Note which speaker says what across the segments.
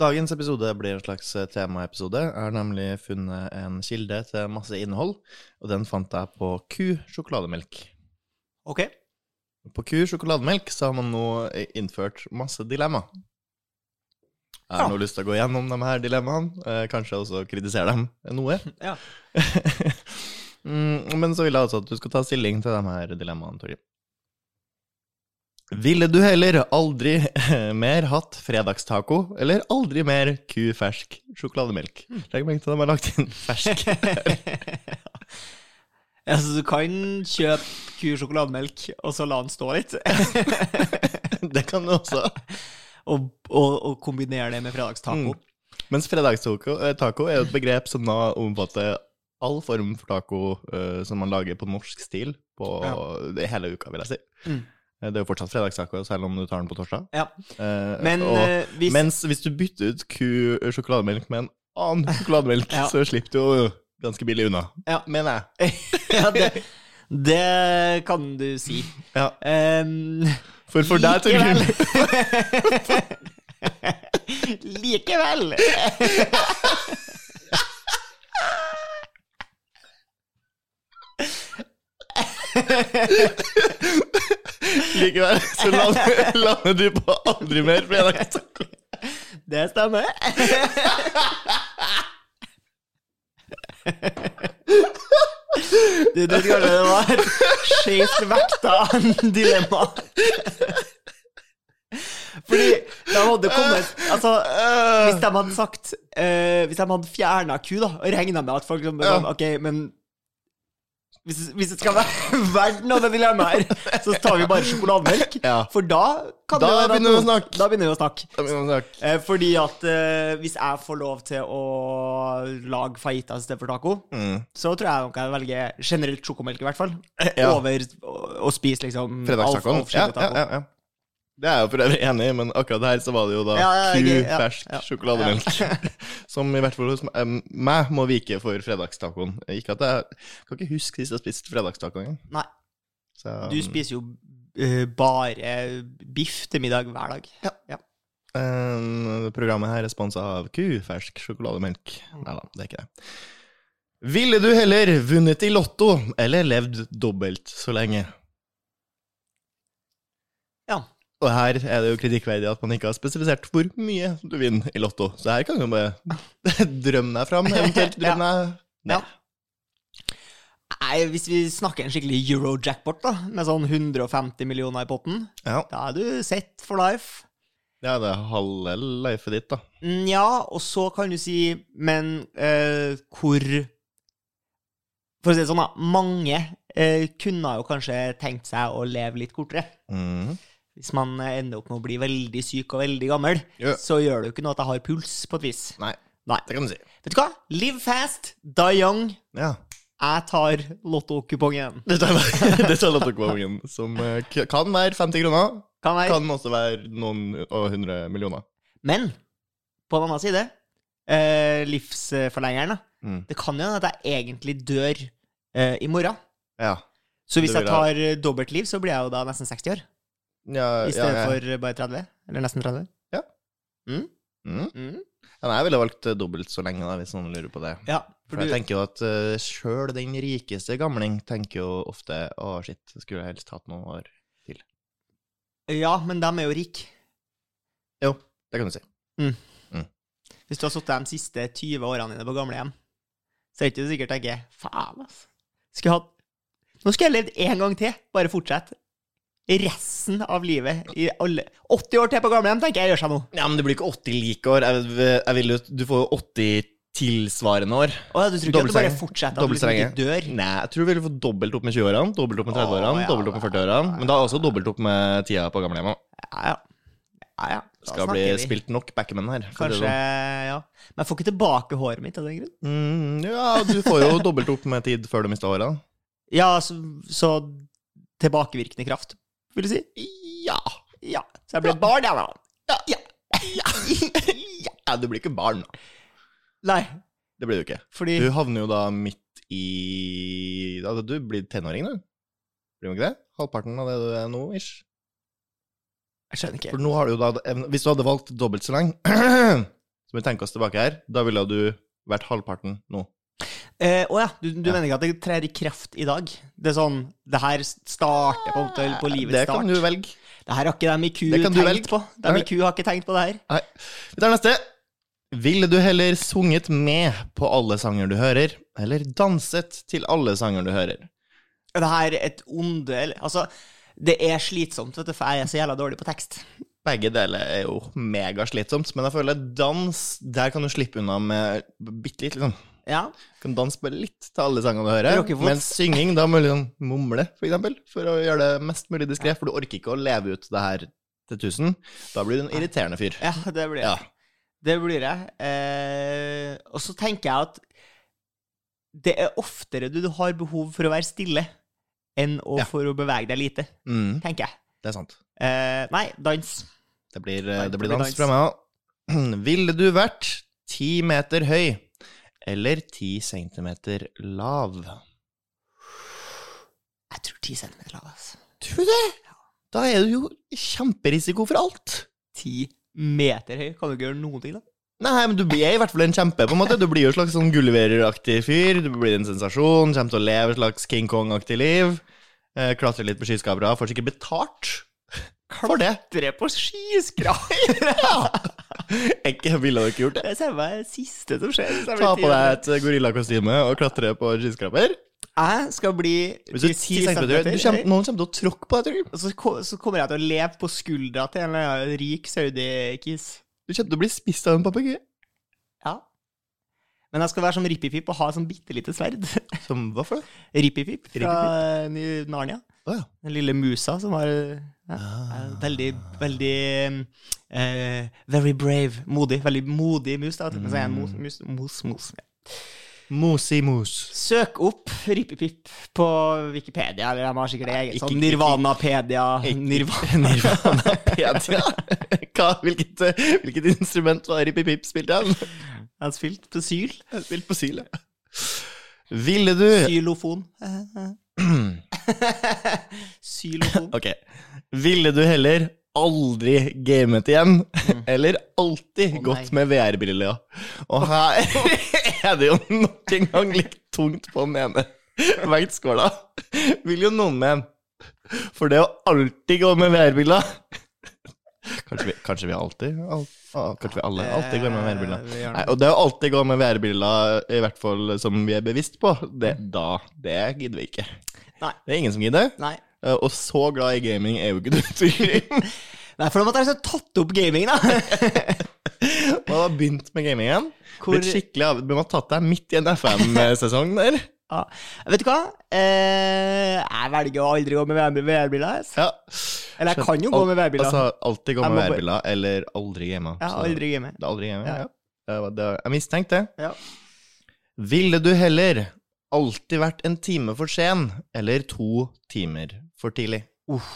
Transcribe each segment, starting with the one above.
Speaker 1: Dagens episode blir en slags eh, temaepisode. Jeg har nemlig funnet en kilde til masse innhold, og den fant jeg på Q sjokolademelk.
Speaker 2: Ok.
Speaker 1: På Q sjokolademelk så har man nå innført masse dilemma. Jeg har
Speaker 2: Ja.
Speaker 1: nå lyst til å gå gjennom de her dilemmaene, eh, kanskje også kritisere dem noe.
Speaker 2: Ja.
Speaker 1: Mm, Men så vil jeg altså at du skal ta stilling til de her dilemmaene, Torgrim. Ville du heller aldri mer hatt fredagstaco, eller aldri mer kufersk sjokolademelk?
Speaker 2: Mm.
Speaker 1: Legg merke til at de har lagt inn fersk.
Speaker 2: altså, du kan kjøpe kusjokolademelk, og så la den stå litt,
Speaker 1: Det kan du også.
Speaker 2: og, og, og kombinere det med fredagstaco.
Speaker 1: Mm. Mens fredagstaco eh, taco er jo et begrep som da omfatter all form for taco eh, som man lager på norsk stil på hele uka, vil jeg si.
Speaker 2: Mm.
Speaker 1: Eh, Det er jo fortsatt fredagstaco, selv om du tar den på torsdag.
Speaker 2: Ja.
Speaker 1: Eh,
Speaker 2: Men
Speaker 1: og,
Speaker 2: eh, hvis
Speaker 1: Mens hvis du bytter ut ku sjokolademelk med en annen sjokolademelk,
Speaker 2: Ja.
Speaker 1: så slipper du jo ganske billig unna.
Speaker 2: Ja. Eh,
Speaker 1: Mener jeg.
Speaker 2: ja, det, det kan du si.
Speaker 1: Ja.
Speaker 2: Em,
Speaker 1: For for deg, Torgrim
Speaker 2: Likevel. Likevel.
Speaker 1: likevel, så lander, lander du på aldri mer fredagstaco.
Speaker 2: Det stemmer. Du trodde kanskje det var et skeivt vekta dilemma. Fordi de hadde kommet Altså, hvis de hadde sagt eh, Hvis de hadde fjerna Q, da, og regna med at folk som
Speaker 1: Ja.
Speaker 2: sånn, Ok, men hvis, hvis det skal være verden av det dilemmaet her, så tar vi bare sjokolademelk.
Speaker 1: Ja.
Speaker 2: For da kan
Speaker 1: Da
Speaker 2: det være at
Speaker 1: begynner vi å
Speaker 2: noen-
Speaker 1: snakke.
Speaker 2: Da begynner vi å snakke.
Speaker 1: Da sånn, begynner vi å snakke.
Speaker 2: Eh, Fordi at eh, hvis jeg får lov til å lage fajitas istedenfor taco,
Speaker 1: Mm.
Speaker 2: så tror jeg nok jeg velger generelt sjokomelk, i hvert fall.
Speaker 1: Ja.
Speaker 2: Over å, å spise liksom
Speaker 1: Fredagstacoen. Ja, ja, ja, ja. Det er jeg jo for øvrig enig i, men akkurat her så var det jo da
Speaker 2: Ja, ja,
Speaker 1: ku
Speaker 2: ok, ja,
Speaker 1: fersk
Speaker 2: ja.
Speaker 1: sjokolademelk. Som i hvert fall hos meg, meg må vike for fredagstacoen. Ikke at jeg kan ikke huske sist jeg spiste fredagstaco engang.
Speaker 2: Nei,
Speaker 1: Så-
Speaker 2: du spiser jo eh, bare biff til middag hver dag. Ja.
Speaker 1: Eh, programmet her er sponsa av kufersk sjokolademelk. Nei da, det er ikke det. Ville du heller vunnet i Lotto eller levd dobbelt så lenge?
Speaker 2: Ja.
Speaker 1: Og her er det jo kritikkverdig at man ikke har spesifisert hvor mye du vinner i Lotto. Så her kan du bare drømme deg fram, eventuelt drømme deg
Speaker 2: Ja. Nei, hvis vi snakker en skikkelig euro-jackpot, da, med sånn 150 millioner i potten,
Speaker 1: Ja.
Speaker 2: da er du set for life.
Speaker 1: ja, det er halve løyfet ditt, da.
Speaker 2: Nja, og så kan du si Men eh, hvor For å si det sånn, da. Mange eh, kunne jo kanskje tenkt seg å leve litt kortere.
Speaker 1: Mhm.
Speaker 2: Hvis man eh, ender opp med å bli veldig syk og veldig gammel,
Speaker 1: Ja.
Speaker 2: så gjør det jo ikke noe at jeg har puls, på et vis.
Speaker 1: Nei,
Speaker 2: Nei.
Speaker 1: det kan du si.
Speaker 2: Vet du hva? Live fast, die young.
Speaker 1: Ja.
Speaker 2: Jeg tar lottokupongen.
Speaker 1: Dette er, dette er Lotto-kupongen, som eh, k- kan være 50 kroner.
Speaker 2: Kan være.
Speaker 1: Kan også være noen og hundre millioner.
Speaker 2: Men på den annen side, eh, livsforlengeren, da.
Speaker 1: Mm.
Speaker 2: Det kan jo hende at jeg egentlig dør eh, i morgen.
Speaker 1: Ja.
Speaker 2: Så hvis
Speaker 1: Du
Speaker 2: jeg
Speaker 1: vil ha-
Speaker 2: tar eh, dobbelt liv, så blir jeg jo da nesten 60 år.
Speaker 1: ja,
Speaker 2: I stedet
Speaker 1: ja, ja.
Speaker 2: for eh, bare 30. Eller nesten 30.
Speaker 1: mm.
Speaker 2: Mm.
Speaker 1: ja, nei, Jeg ville valgt eh, dobbelt så lenge, da, hvis noen lurer på det.
Speaker 2: Ja,
Speaker 1: For
Speaker 2: for
Speaker 1: jeg
Speaker 2: du,
Speaker 1: tenker jo at uh, sjøl den rikeste gamling tenker jo ofte å shit, skulle jeg helst hatt noen år.
Speaker 2: ja, men dem er jo rike.
Speaker 1: Jo, det kan du si.
Speaker 2: Hvis du har sittet de siste 20 årene dine på gamlehjem, så er det ikke sikkert jeg tenker faen, ass. Skulle jeg hatt Nå skulle jeg levd én gang til. Bare fortsett. Resten av livet. I alle 80 år til på gamlehjem, tenker jeg gjør seg nå.
Speaker 1: Ja, men det blir ikke 80 like år. Jeg, jeg vil jo, du får jo 80 tilsvarende år.
Speaker 2: Og du tror ikke at du bare
Speaker 1: Dobbeltstrenge.
Speaker 2: fortsetter at du liksom ikke dør?
Speaker 1: Nei, jeg tror vi ville fått dobbelt opp med 20-årene, dobbelt opp med 30-årene,
Speaker 2: Å, ja,
Speaker 1: dobbelt opp med 40-årene. Men da også dobbelt opp med tida på gamlehjemmet.
Speaker 2: Ja, ja. ja, ja. Da
Speaker 1: Skal bli
Speaker 2: snakker vi.
Speaker 1: spilt nok backman her. for å si det
Speaker 2: Kanskje,
Speaker 1: sånn.
Speaker 2: ja. Men jeg får ikke tilbake håret mitt av den grunn.
Speaker 1: Mm, ja, du får jo dobbelt opp med tid før du mister håra.
Speaker 2: Ja, så, så tilbakevirkende kraft, vil du si?
Speaker 1: Ja.
Speaker 2: Ja. Så jeg ble et barn, jeg, da. Ja.
Speaker 1: ja. Du blir ikke barn, Mm. da.
Speaker 2: Nei,
Speaker 1: Det blir du ikke.
Speaker 2: fordi
Speaker 1: Du havner jo da midt i altså, Du blir tenåring, du. Blir du ikke det? Halvparten av det du er nå, ish.
Speaker 2: Jeg skjønner
Speaker 1: For
Speaker 2: ikke.
Speaker 1: nå har du jo da evne- Hvis du hadde valgt dobbelt så lenge Så vi tenker oss tilbake her. Da ville du vært halvparten nå.
Speaker 2: Å eh, å ja, du, du mener ikke at det trer i kraft i dag? Det er sånn Det her starter på, en måte på livets
Speaker 1: det
Speaker 2: start.
Speaker 1: kan du velge.
Speaker 2: Det her har ikke dem i ku
Speaker 1: Det kan
Speaker 2: tenkt
Speaker 1: du velge.
Speaker 2: på. Dem i ku har ikke tenkt på det her.
Speaker 1: Nei. Vi tar neste. Ville du heller sunget med på alle sanger du hører, eller danset til alle sanger du hører?
Speaker 2: Det her er et onde eller- Altså, det er slitsomt, vet du, for jeg er så jævla dårlig på tekst.
Speaker 1: Begge deler er jo megaslitsomt, men jeg føler dans, der kan du slippe unna med bitte litt, liksom.
Speaker 2: Ja.
Speaker 1: Du kan danse bare litt til alle sangene du
Speaker 2: Det
Speaker 1: hører.
Speaker 2: er jo ikke vondt.
Speaker 1: Men synging, da må du liksom mumle, for eksempel, for å gjøre det mest mulig diskré, for du orker ikke å leve ut det her til tusen. Da blir du en irriterende fyr.
Speaker 2: Ja, det blir
Speaker 1: Ja.
Speaker 2: jeg. Det blir jeg. Eh, og så tenker jeg at det er oftere du har behov for å være stille enn å
Speaker 1: Ja.
Speaker 2: for å bevege deg lite,
Speaker 1: Mm,
Speaker 2: tenker jeg.
Speaker 1: det er sant.
Speaker 2: Eh, nei, dans.
Speaker 1: Det blir,
Speaker 2: Nei,
Speaker 1: det blir dans fra meg òg. Ville du vært ti meter høy eller ti centimeter lav?
Speaker 2: Jeg tror 10 cm lav, altså.
Speaker 1: Tror du det? Da er du jo kjemperisiko for alt.
Speaker 2: 10 meter høy, kan du ikke gjøre noen ting, da?
Speaker 1: Nei, men du er i hvert fall en kjempe, på en måte. Du blir jo en slags sånn Gulliver-aktig fyr. Du blir en sensasjon. Kommer til å leve et slags King Kong-aktig liv. Eh, Klatre litt på skyskrapere. Får sikkert betalt for det.
Speaker 2: Dre på skiskraj!
Speaker 1: Ikke ville dere gjort det.
Speaker 2: Det er det siste som skjer. hvis jeg blir
Speaker 1: Ta
Speaker 2: 10
Speaker 1: på
Speaker 2: meter.
Speaker 1: deg et gorillakostyme og klatre på skyskraper.
Speaker 2: Jeg skal bli
Speaker 1: Hvis du er 10 centimeter, du kommer, noen kommer til å tråkke på deg, tror jeg.
Speaker 2: Og så, ko- så kommer jeg til å leve på skuldra til en eller annen rik saudikis.
Speaker 1: Du kommer til å bli spist av en papegøye.
Speaker 2: Ja. Men jeg skal være som Rippipip og ha et sånn bitte lite sverd.
Speaker 1: Som hva for det?
Speaker 2: Rippipip fra eh, Ny- Narnia.
Speaker 1: Å ja.
Speaker 2: Den lille musa som har ja,
Speaker 1: Ah.
Speaker 2: er Veldig, veldig eh, Very brave. Modig. Veldig modig mus. da. Men så er jeg en mos,
Speaker 1: Mm.
Speaker 2: mus, mos, mos. Ja.
Speaker 1: Mosi mos.
Speaker 2: Søk opp Rippipip på Wikipedia, eller de har sikkert eget
Speaker 1: Ikke-
Speaker 2: sånn Nirvanapedia.
Speaker 1: ikke-
Speaker 2: Nirvana.
Speaker 1: Nirvanapedia. Hva- Hvilket, eh, hvilket instrument var Rippi Pip spilt av?
Speaker 2: Jeg har spilt på Syl.
Speaker 1: Spilt på syl, ja. Ville du
Speaker 2: Xylofon. Xylofon.
Speaker 1: Ok. Ville du heller aldri gamet igjen, eller alltid
Speaker 2: Mm. Å,
Speaker 1: gått
Speaker 2: nei.
Speaker 1: med VR-briller? Og her er det jo nok en gang litt tungt på den ene vektskåla. Vil jo noen mene. For det å alltid gå med VR-briller Kanskje vi, kanskje vi alltid al, ah, Kanskje vi alle alltid går med VR-briller?
Speaker 2: Eh, vi gjør det.
Speaker 1: Nei, og det å alltid gå med VR-briller, i hvert fall som vi er bevisst på, det, da, det gidder vi ikke.
Speaker 2: Nei.
Speaker 1: Det er ingen som gidder.
Speaker 2: Nei.
Speaker 1: Eh, Og så glad i gaming er jo ikke du, Turin.
Speaker 2: Nei, for da måtte jeg liksom tatt opp gaming, da.
Speaker 1: Man har begynt med gaming igjen.
Speaker 2: Hvor-
Speaker 1: Blitt skikkelig av... Men man har tatt deg midt i en FM-sesong der.
Speaker 2: Ja. Vet du hva? Eh, jeg velger å aldri gå med VR-briller.
Speaker 1: Ja.
Speaker 2: Eller jeg kan jo gå med VR-briller.
Speaker 1: Altså, alltid gå
Speaker 2: Jeg
Speaker 1: med
Speaker 2: må bare-
Speaker 1: VR-briller, eller aldri game.
Speaker 2: Jeg har aldri gamet.
Speaker 1: Det er aldri game,
Speaker 2: Ja.
Speaker 1: ja. Det var- det var- Jeg mistenkte det.
Speaker 2: Ja.
Speaker 1: Ville du heller alltid vært en time for sen, eller to timer for tidlig?
Speaker 2: Uff.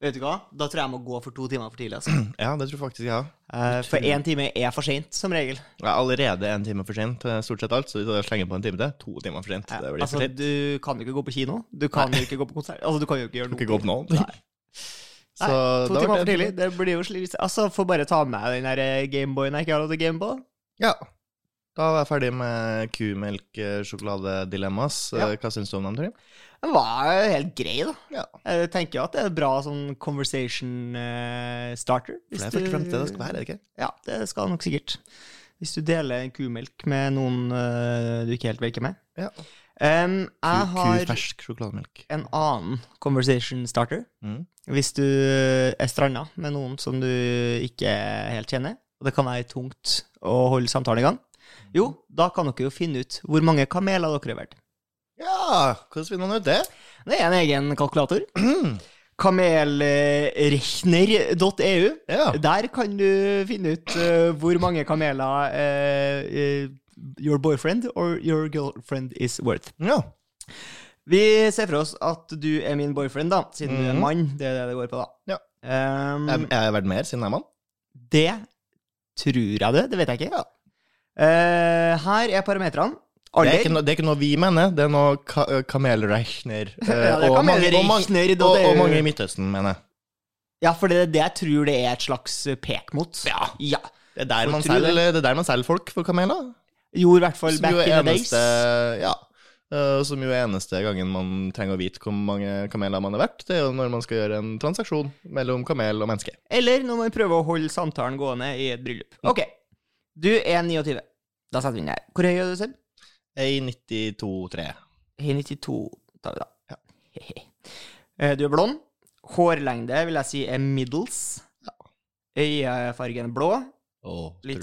Speaker 2: Vet du hva? Da tror jeg jeg må gå for to timer for tidlig. Altså.
Speaker 1: Ja, det tror jeg faktisk jeg har.
Speaker 2: Eh, for én time er for seint, som regel.
Speaker 1: Jeg er allerede en time for sent, eh, stort sett alt, så hvis jeg slenger på en time til, to timer for sent.
Speaker 2: Ja,
Speaker 1: Det blir for
Speaker 2: altså,
Speaker 1: sent.
Speaker 2: du kan jo ikke gå på kino. Du kan jo ikke gå på konsert. Altså, du kan jo ikke gjøre
Speaker 1: Du
Speaker 2: noe.
Speaker 1: kan ikke gå opp nå.
Speaker 2: Nei.
Speaker 1: Så
Speaker 2: Nei, to
Speaker 1: da ble
Speaker 2: timer for
Speaker 1: det-
Speaker 2: tidlig. Det blir jo slik. Altså, får bare ta med den der eh, Gameboyen jeg ikke har lov til å game på.
Speaker 1: Ja. Da var jeg ferdig med kumelk-sjokoladedilemmas. Eh,
Speaker 2: Ja.
Speaker 1: Hva syns du om dem, Torgrim?
Speaker 2: Den var jo helt grei, da.
Speaker 1: Ja.
Speaker 2: Jeg tenker jo at det er bra sånn conversation eh, starter.
Speaker 1: For det
Speaker 2: hvis
Speaker 1: er først og
Speaker 2: du-
Speaker 1: fremst det det skal være, er det ikke?
Speaker 2: Ja, det skal nok sikkert. Hvis du deler en kumelk med noen eh, du ikke helt virker med.
Speaker 1: Ja.
Speaker 2: Em, jeg
Speaker 1: Ku-
Speaker 2: har
Speaker 1: Kufersk sjokolademelk.
Speaker 2: en annen conversation starter.
Speaker 1: Mm.
Speaker 2: Hvis du eh, er stranda med noen som du ikke helt kjenner, og det kan være tungt å holde samtalen i gang, jo, da kan dere jo finne ut hvor mange kameler dere har vært.
Speaker 1: Ja, hvordan finner man ut det?
Speaker 2: Det er en egen kalkulator. Kamelrechner.eu.
Speaker 1: Ja.
Speaker 2: Der kan du finne ut eh, hvor mange kameler eh, eh, your boyfriend or your girlfriend is worth.
Speaker 1: ja.
Speaker 2: Vi ser for oss at du er min boyfriend, da, siden du er
Speaker 1: Mhm.
Speaker 2: mann. Det er det det går på, da.
Speaker 1: Ja.
Speaker 2: Ehm,
Speaker 1: Jeg, jeg har vært mer siden jeg er mann.
Speaker 2: det tror jeg det. Det vet jeg ikke. Eh, her er parametrene.
Speaker 1: Det
Speaker 2: Alder.
Speaker 1: er, ikke noe, det er ikke noe vi mener, det er noe ka kamelrechner. eh,
Speaker 2: Ja, det er
Speaker 1: og mange- og mange-
Speaker 2: kamelrechner, da,
Speaker 1: og-
Speaker 2: det er
Speaker 1: og
Speaker 2: jo-
Speaker 1: mange i Midtøsten, mener jeg.
Speaker 2: Ja, for det er det jeg tror det er et slags pek mot. Ja.
Speaker 1: Det er der
Speaker 2: Folk
Speaker 1: man
Speaker 2: tror
Speaker 1: selger, det er der man selger folk for kameler.
Speaker 2: Gjorde i hvert fall
Speaker 1: Som
Speaker 2: back
Speaker 1: jo, er
Speaker 2: in the days.
Speaker 1: eneste, ja, eh, som jo er eneste gangen man trenger å vite hvor mange kameler man er verdt. Det er jo når man skal gjøre en transaksjon mellom kamel og menneske.
Speaker 2: Eller når man prøver å holde samtalen gående i et bryllup.
Speaker 1: Mm.
Speaker 2: Ok, du er 29. Da setter vi den her. Hvor høy er du selv?
Speaker 1: I 92-3.
Speaker 2: Hei, 92 tar vi da. Hehe. Eh, Du er blond. Hårlengde vil jeg si er middels. Øyefargen blå.
Speaker 1: Å,
Speaker 2: Litt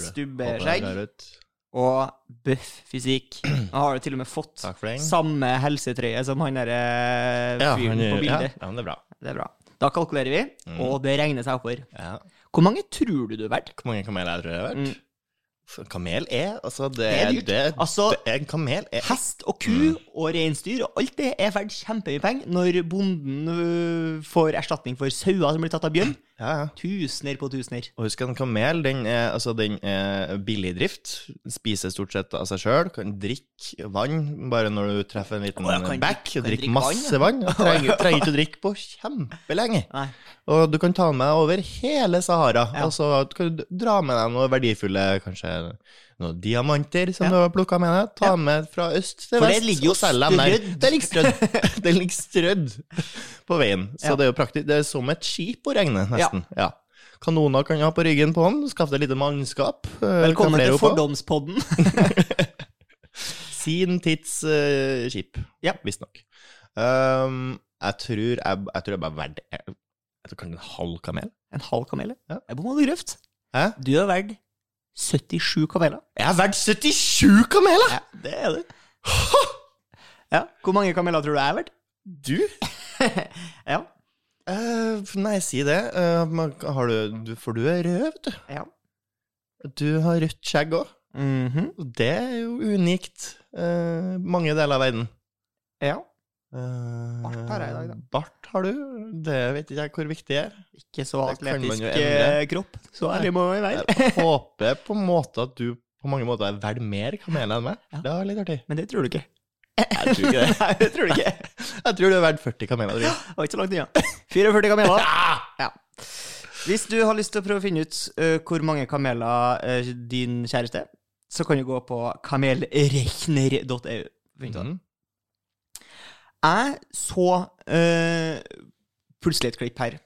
Speaker 1: tror du.
Speaker 2: stubbe
Speaker 1: Håper jeg
Speaker 2: skjegg.
Speaker 1: drar ut.
Speaker 2: Og bøff fysikk. Nå har du til og med fått
Speaker 1: Takk for den.
Speaker 2: samme helsetrøye som han derre
Speaker 1: Ja,
Speaker 2: fyren
Speaker 1: han
Speaker 2: på
Speaker 1: gjør- ja,
Speaker 2: bildet.
Speaker 1: ja, men det er bra.
Speaker 2: Det er bra. Da kalkulerer vi,
Speaker 1: Mm.
Speaker 2: og det regner seg oppover.
Speaker 1: Ja.
Speaker 2: Hvor mange tror du du er verdt?
Speaker 1: Hvor mange kameler jeg tror jeg har vært?
Speaker 2: Mm.
Speaker 1: For Kamel er altså Det,
Speaker 2: Det er dyrt.
Speaker 1: Det,
Speaker 2: Altså,
Speaker 1: det er en kamel er
Speaker 2: Hest og ku og reinsdyr og alt det er verdt kjempemye penger når bonden øh, får erstatning for sauer som blir tatt av bjørn.
Speaker 1: ja, ja.
Speaker 2: Tusener på tusener.
Speaker 1: Og husk at en kamel den er, altså, den er billig i drift. Den Spiser stort sett av seg sjøl. Kan drikke vann bare når du treffer en liten
Speaker 2: Å, ja,
Speaker 1: bekk.
Speaker 2: kan drikke- kan
Speaker 1: Drikke
Speaker 2: drikke
Speaker 1: masse vann. og Trenger, trenger ikke å drikke på kjempelenge.
Speaker 2: Nei.
Speaker 1: Og du kan ta den med over hele Sahara.
Speaker 2: Ja.
Speaker 1: Altså, du kan du dra med deg noe verdifulle, kanskje noen diamanter som
Speaker 2: Ja.
Speaker 1: du har plukka med deg. Ta
Speaker 2: Ja.
Speaker 1: med fra øst til
Speaker 2: For det
Speaker 1: vest.
Speaker 2: ligger jo
Speaker 1: og selge dem der.
Speaker 2: strødd.
Speaker 1: Det ligger strødd. det ligger strødd på veien. Så
Speaker 2: Ja.
Speaker 1: det er jo praktisk. Det er som et skip å regne,
Speaker 2: Ja.
Speaker 1: nesten. Ja. Kanoner kan du ha på ryggen på den. Skaff deg litt mannskap. eh,
Speaker 2: Velkommen
Speaker 1: kan flere
Speaker 2: til
Speaker 1: oppå.
Speaker 2: fordomspodden.
Speaker 1: Sin tids eh, skip,
Speaker 2: Ja.
Speaker 1: visstnok. Um, jeg tror jeg, jeg tror jeg bare er verdt jeg, jeg tror kanskje en halv kamel.
Speaker 2: En halv kamel?
Speaker 1: Ja.
Speaker 2: Jeg bomma på grøft.
Speaker 1: Hæ?
Speaker 2: Du er verdt 77 kameler.
Speaker 1: Jeg er verdt 77 kameler!
Speaker 2: Ja, det er du. Ja, Hvor mange kameler tror du jeg er verdt?
Speaker 1: Du?
Speaker 2: Ja.
Speaker 1: Eh, nei, si det. Eh, man- har du, du For du er rød, vet du.
Speaker 2: ja.
Speaker 1: Du har rødt skjegg òg.
Speaker 2: Mhm.
Speaker 1: Det er jo unikt. eh, mange deler av verden.
Speaker 2: ja.
Speaker 1: Eh,
Speaker 2: Bart har jeg i dag, da.
Speaker 1: Bart har du. Det vet ikke jeg hvor viktig det er.
Speaker 2: Ikke så
Speaker 1: Det kan man jo
Speaker 2: atletisk
Speaker 1: endre.
Speaker 2: eh, kropp. Så ærlig må vi være.
Speaker 1: Jeg håper på en måte at du på mange måter er verdt mer kamel enn meg.
Speaker 2: Ja.
Speaker 1: Det var litt artig.
Speaker 2: Men det tror du ikke.
Speaker 1: Jeg tror ikke det.
Speaker 2: Nei, det tror du ikke.
Speaker 1: Jeg tror du er verdt 40 kameler. Trygve.
Speaker 2: Det var ikke så langt unna. 44 kameler. Ja. Hvis du har lyst til å prøve å finne ut eh, hvor mange kameler eh, din kjæreste, så kan du gå på kamelrechner.eu. Finn ut av det.
Speaker 1: Mhm.
Speaker 2: Jeg så eh, plutselig et klipp her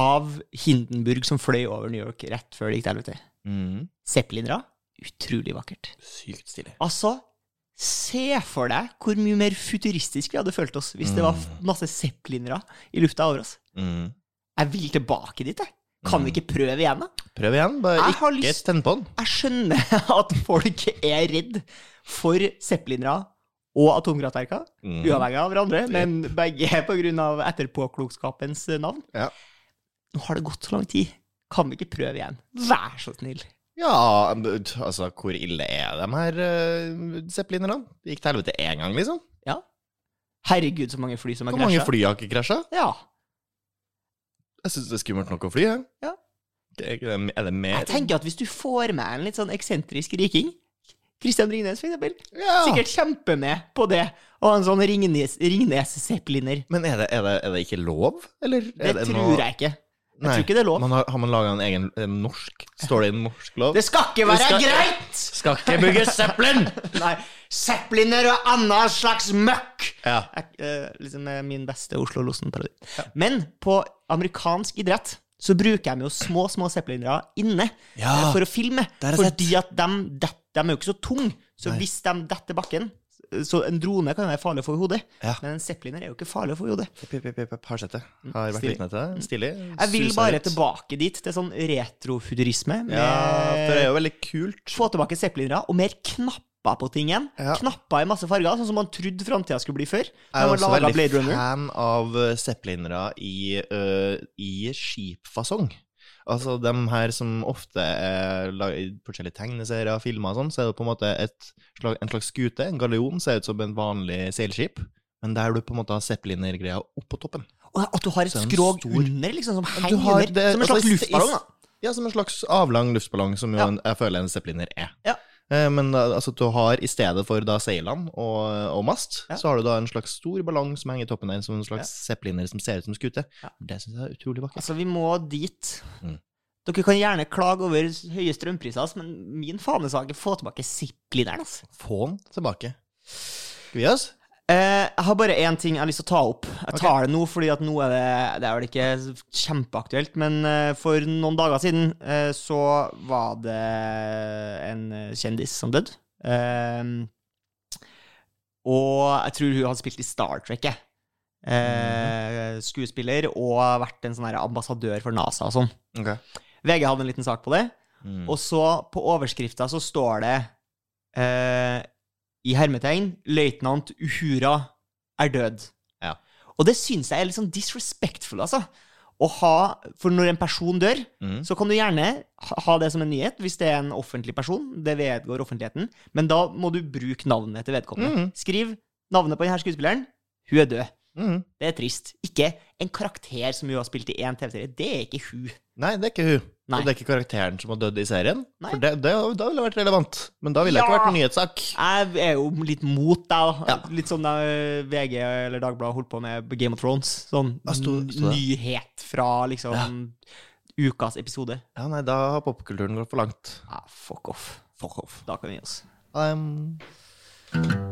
Speaker 2: av Hindenburg som fløy over New York rett før det gikk til helvete.
Speaker 1: Mhm.
Speaker 2: Zeppelinere. Utrolig vakkert.
Speaker 1: Sykt stilig.
Speaker 2: Altså, se for deg hvor mye mer futuristisk vi hadde følt oss hvis det var f- masse zeppelinere i lufta over oss.
Speaker 1: Mhm.
Speaker 2: Jeg vil tilbake dit, jeg. Kan vi ikke prøve igjen, da?
Speaker 1: Prøv igjen. Bare
Speaker 2: Jeg har
Speaker 1: ikke
Speaker 2: lyst-
Speaker 1: tenn på den.
Speaker 2: Jeg skjønner at folk er redd for zeppelinere og atomkraftverker,
Speaker 1: Mhm.
Speaker 2: uavhengig av hverandre, men begge på grunn av etterpåklokskapens eh, navn.
Speaker 1: Ja.
Speaker 2: Nå har det gått så lang tid. Kan vi ikke prøve igjen? Vær så snill.
Speaker 1: Ja, men, t- altså, hvor ille er de her uh, zeppelinerne? Det gikk til helvete én gang, liksom.
Speaker 2: Ja. Herregud, så mange fly som har
Speaker 1: Hvor mange
Speaker 2: krasja.
Speaker 1: fly har ikke krasja?
Speaker 2: Ja.
Speaker 1: Jeg syns det er skummelt nok å fly, jeg.
Speaker 2: Ja.
Speaker 1: Er ikke det- er det mer?
Speaker 2: Jeg tenker at hvis du får med en litt sånn eksentrisk riking Christian Ringnes, for eksempel.
Speaker 1: ja.
Speaker 2: Sikkert kjempemed på det. Og en sånn Ringnes- Ringnes-zeppeliner.
Speaker 1: Men er det, er, det, er det ikke lov, eller?
Speaker 2: Det, tror jeg ikke. Jeg tror ikke det er lov.
Speaker 1: Man har, har man laga en egen en norsk? Står det i en norsk lov?
Speaker 2: Det skal ikke være
Speaker 1: skal-
Speaker 2: greit!
Speaker 1: skal ikke bygges zeppelin!
Speaker 2: Nei. Zeppeliner og annen slags møkk!
Speaker 1: ja.
Speaker 2: Jeg, eh, liksom eh, min beste Oslo Losen-parodi. Men på amerikansk idrett så bruker de jo små, små zeppelinere inne eh, for å filme.
Speaker 1: det har jeg
Speaker 2: Fordi at de, detter- de er jo ikke så tunge. Så
Speaker 1: Nei.
Speaker 2: hvis de detter bakken Så en drone kan være farlig for hodet,
Speaker 1: Ja.
Speaker 2: men en zeppeliner er jo ikke farlig for hodet.
Speaker 1: Pip, pip, pip, pip, Har sett det. Har vært
Speaker 2: Stilig.
Speaker 1: vitne til det. Stilig.
Speaker 2: Jeg vil
Speaker 1: Suser
Speaker 2: bare
Speaker 1: ut.
Speaker 2: tilbake dit, til sånn retrofuturisme. Med
Speaker 1: Ja, for det er jo veldig kult.
Speaker 2: få tilbake zeppelinere og mer knapper på ting igjen.
Speaker 1: Ja.
Speaker 2: Knapper i masse farger, sånn som man trodde framtida skulle bli før.
Speaker 1: Jeg er
Speaker 2: Når man
Speaker 1: også
Speaker 2: laget Blade
Speaker 1: veldig
Speaker 2: Runner.
Speaker 1: fan av eh, zeppelinere i, eh, i skipfasong. Altså de her som ofte er la- i forskjellige tegneserier og filmer og sånn, så er det på en måte et slag, en slags skute, en galleon, ser ut som en vanlig seilskip. Men der du på en måte har zeppelinergreia oppå toppen.
Speaker 2: Og at du har et
Speaker 1: Så er den
Speaker 2: skrog
Speaker 1: stor.
Speaker 2: under, liksom, som
Speaker 1: Du
Speaker 2: henger
Speaker 1: har
Speaker 2: under.
Speaker 1: det-
Speaker 2: som en
Speaker 1: altså, i-
Speaker 2: slags
Speaker 1: i-
Speaker 2: luftballong, da.
Speaker 1: Ja, som en slags avlang luftballong, som jo
Speaker 2: Ja.
Speaker 1: en, jeg føler en zeppeliner er.
Speaker 2: Ja.
Speaker 1: Eh, Men da, altså, du har i stedet for da seilene og, og mast,
Speaker 2: Ja.
Speaker 1: så har du da en slags stor ballong som henger i toppen der, som en slags zeppeliner som ser ut som skute.
Speaker 2: Ja.
Speaker 1: Det syns jeg er utrolig vakkert.
Speaker 2: Altså, vi må dit.
Speaker 1: Mm.
Speaker 2: Dere kan gjerne klage over s- høye strømpriser, ass, men min fanesak er å få tilbake zip-lineren. ass.
Speaker 1: Få den tilbake. Skal vi gi oss?
Speaker 2: Eh, jeg har bare én ting jeg har lyst til å ta opp. Jeg tar det nå, fordi at nå er det Det er vel ikke kjempeaktuelt, men eh, for noen dager siden eh, så var det en eh, kjendis som døde. Eh, og jeg tror hun hadde spilt i Star Trek, jeg. Eh, skuespiller, og vært en sånn her ambassadør for NASA og sånn.
Speaker 1: Ok.
Speaker 2: VG hadde en liten sak på det.
Speaker 1: Mm.
Speaker 2: Og så, på overskrifta, så står det eh, i hermetegn 'Løytnant Uhura er død'.
Speaker 1: Ja.
Speaker 2: Og det syns jeg er litt sånn disrespectful, altså. Å ha, For når en person dør,
Speaker 1: Mm.
Speaker 2: så kan du gjerne ha ha det som en nyhet hvis det er en offentlig person. Det vedgår offentligheten. Men da må du bruke navnet til vedkommende.
Speaker 1: Mhm.
Speaker 2: Skriv navnet på denne skuespilleren. Hun er død.
Speaker 1: Mm.
Speaker 2: Det er trist. Ikke en karakter som hun har spilt i én TV-serie. Det er ikke hun.
Speaker 1: Nei, det er ikke hun.
Speaker 2: Nei.
Speaker 1: Og det er ikke karakteren som har dødd i serien.
Speaker 2: Nei.
Speaker 1: For det, det, Da ville det vært relevant. Men da ville det ikke
Speaker 2: Ja.
Speaker 1: vært en nyhetssak.
Speaker 2: Jeg er jo litt mot deg, da. Litt sånn da eh, VG eller Dagbladet holdt på med Game of Thrones. Sånn
Speaker 1: Ja, sto- sto det.
Speaker 2: nyhet fra liksom ukas episode.
Speaker 1: Ja, nei, da har popkulturen gått for langt.
Speaker 2: Ah, fuck off. Fuck off. Da kan vi gi oss.
Speaker 1: Um